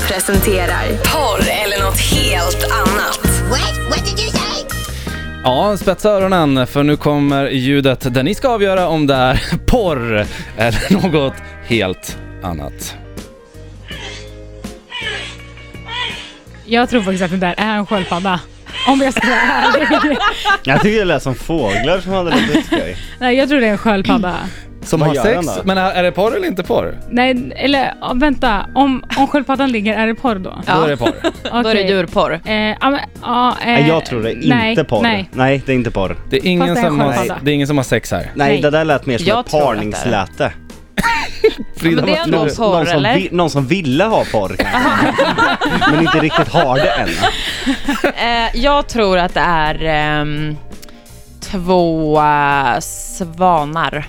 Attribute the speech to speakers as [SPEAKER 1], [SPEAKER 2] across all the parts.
[SPEAKER 1] presenterar Porr eller något helt annat.
[SPEAKER 2] What? What did you say?
[SPEAKER 3] Ja, spetsa öronen för nu kommer ljudet där ni ska avgöra om det är porr eller något helt annat.
[SPEAKER 4] Jag tror faktiskt att det där är en sköldpadda. Om jag ska vara ärlig.
[SPEAKER 5] Jag tycker det lät som fåglar som hade lite
[SPEAKER 6] Eh,
[SPEAKER 5] skoj.
[SPEAKER 4] Nej, jag tror det är en sköldpadda.
[SPEAKER 3] Som
[SPEAKER 5] Vad
[SPEAKER 3] har
[SPEAKER 5] gör
[SPEAKER 3] sex,
[SPEAKER 5] han då?
[SPEAKER 3] men är, är det porr eller inte porr?
[SPEAKER 4] Nej, eller ja, vänta. Om, om sköldpaddan ligger, är det porr då?
[SPEAKER 3] Då är
[SPEAKER 6] Ja,
[SPEAKER 3] det porr.
[SPEAKER 6] då är det djurporr.
[SPEAKER 4] Eh, ja, men, ja, eh,
[SPEAKER 5] Nej jag tror det, inte
[SPEAKER 4] nej,
[SPEAKER 5] porr.
[SPEAKER 4] Nej.
[SPEAKER 5] Nej. det är inte porr.
[SPEAKER 3] Det är ingen,
[SPEAKER 4] Fast det är en
[SPEAKER 3] som har,
[SPEAKER 4] sköldpadda.
[SPEAKER 3] det är ingen som har sex här.
[SPEAKER 5] Nej,
[SPEAKER 4] Nej.
[SPEAKER 5] det där lät mer som
[SPEAKER 6] Jag
[SPEAKER 5] ett
[SPEAKER 6] tror att det är.
[SPEAKER 5] parningsläte.
[SPEAKER 3] Frida,
[SPEAKER 6] men det är
[SPEAKER 3] vad tror
[SPEAKER 6] nog
[SPEAKER 3] du?
[SPEAKER 6] så. Porr,
[SPEAKER 5] någon, som
[SPEAKER 6] eller?
[SPEAKER 5] vi, någon som ville ha porr kanske. Men inte riktigt har det än.
[SPEAKER 6] Eh, jag tror att det är ehm, två eh, svanar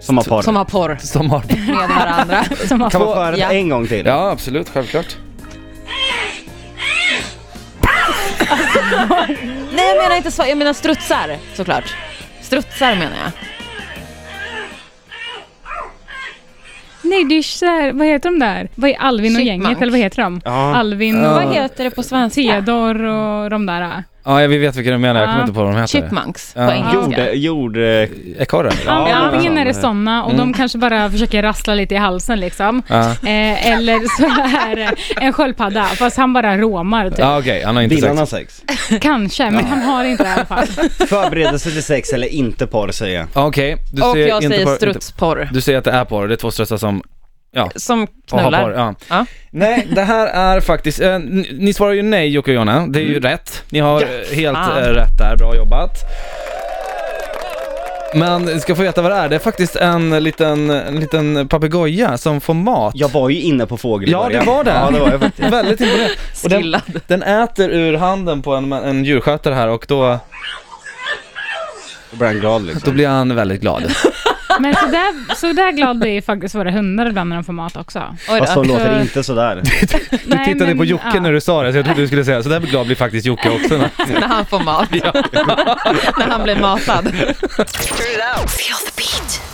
[SPEAKER 5] Som har porr.
[SPEAKER 6] som har porr
[SPEAKER 3] Som har...
[SPEAKER 6] med varandra.
[SPEAKER 4] Som har,
[SPEAKER 5] Kan man få höra det
[SPEAKER 6] Ja.
[SPEAKER 5] en gång till?
[SPEAKER 3] Ja, absolut, självklart.
[SPEAKER 6] Nej jag menar inte svanar, jag menar strutsar såklart. Strutsar menar jag.
[SPEAKER 4] nej, det är så här, vad heter de där? Vad är Alvin och
[SPEAKER 6] Chipmunk.
[SPEAKER 4] gänget, eller vad heter de?
[SPEAKER 5] Ja.
[SPEAKER 4] Alvin och
[SPEAKER 6] Vad heter det på svenska?
[SPEAKER 4] Theodor och de där. eh.
[SPEAKER 3] Ja, vi vet vilka du menar, jag kommer
[SPEAKER 4] Ja.
[SPEAKER 3] inte på vad de heter.
[SPEAKER 6] Chipmunks
[SPEAKER 3] Ja.
[SPEAKER 6] på engelska.
[SPEAKER 5] Jorde, jorde...
[SPEAKER 3] Ekorre?
[SPEAKER 5] Ja,
[SPEAKER 4] Ja,
[SPEAKER 5] det är Mm.
[SPEAKER 4] antingen
[SPEAKER 3] sån.
[SPEAKER 4] är det sådana och de kanske bara försöker rassla lite i halsen liksom.
[SPEAKER 3] Ja,
[SPEAKER 4] Eh, eller så är det en sköldpadda, fast han bara råmar typ.
[SPEAKER 3] ja okej, han har inte
[SPEAKER 5] Vill han ha
[SPEAKER 3] sex.
[SPEAKER 5] sex?
[SPEAKER 4] Kanske, men han har inte det i alla fall.
[SPEAKER 5] Förberedelse till sex eller inte porr säger jag.
[SPEAKER 3] Ja, Okej, du
[SPEAKER 6] Och
[SPEAKER 3] ser
[SPEAKER 6] jag
[SPEAKER 3] inte
[SPEAKER 6] säger
[SPEAKER 3] porr- inte-
[SPEAKER 6] strutsporr.
[SPEAKER 3] Du säger att det är porr, det är två strutsar som
[SPEAKER 6] Som
[SPEAKER 3] Och ha porr,
[SPEAKER 6] knullar.
[SPEAKER 3] ja.
[SPEAKER 6] Ja.
[SPEAKER 3] Nej, det här är faktiskt, eh, ni, ni svarar ju nej Jocke och Jonna, det är
[SPEAKER 5] Mm.
[SPEAKER 3] ju rätt. Ni har eh, helt
[SPEAKER 6] Fan.
[SPEAKER 3] eh, rätt där, bra jobbat. Men ni ska få veta vad det är, det är faktiskt en liten, en liten papegoja som får mat.
[SPEAKER 5] Jag var ju inne på fågel i
[SPEAKER 3] Ja,
[SPEAKER 5] början.
[SPEAKER 3] det var det.
[SPEAKER 5] Ja, det var jag faktiskt.
[SPEAKER 3] Väldigt imponerad. Och den,
[SPEAKER 6] Skillad.
[SPEAKER 3] den äter ur handen på en, en djurskötare här och då,
[SPEAKER 5] Då blev han glad
[SPEAKER 3] då
[SPEAKER 5] liksom.
[SPEAKER 3] blir han väldigt glad.
[SPEAKER 4] Men så där, så där glad blir faktiskt våra hundar ibland när de får mat också.
[SPEAKER 6] Oj
[SPEAKER 5] Fast de
[SPEAKER 6] då.
[SPEAKER 5] låter inte sådär.
[SPEAKER 3] Du tittade på Jocke
[SPEAKER 4] ja.
[SPEAKER 3] när du sa det, så jag trodde du skulle säga så där glad blir faktiskt Jocke också.
[SPEAKER 6] När han får mat. När han blir matad.
[SPEAKER 1] Feel the beat.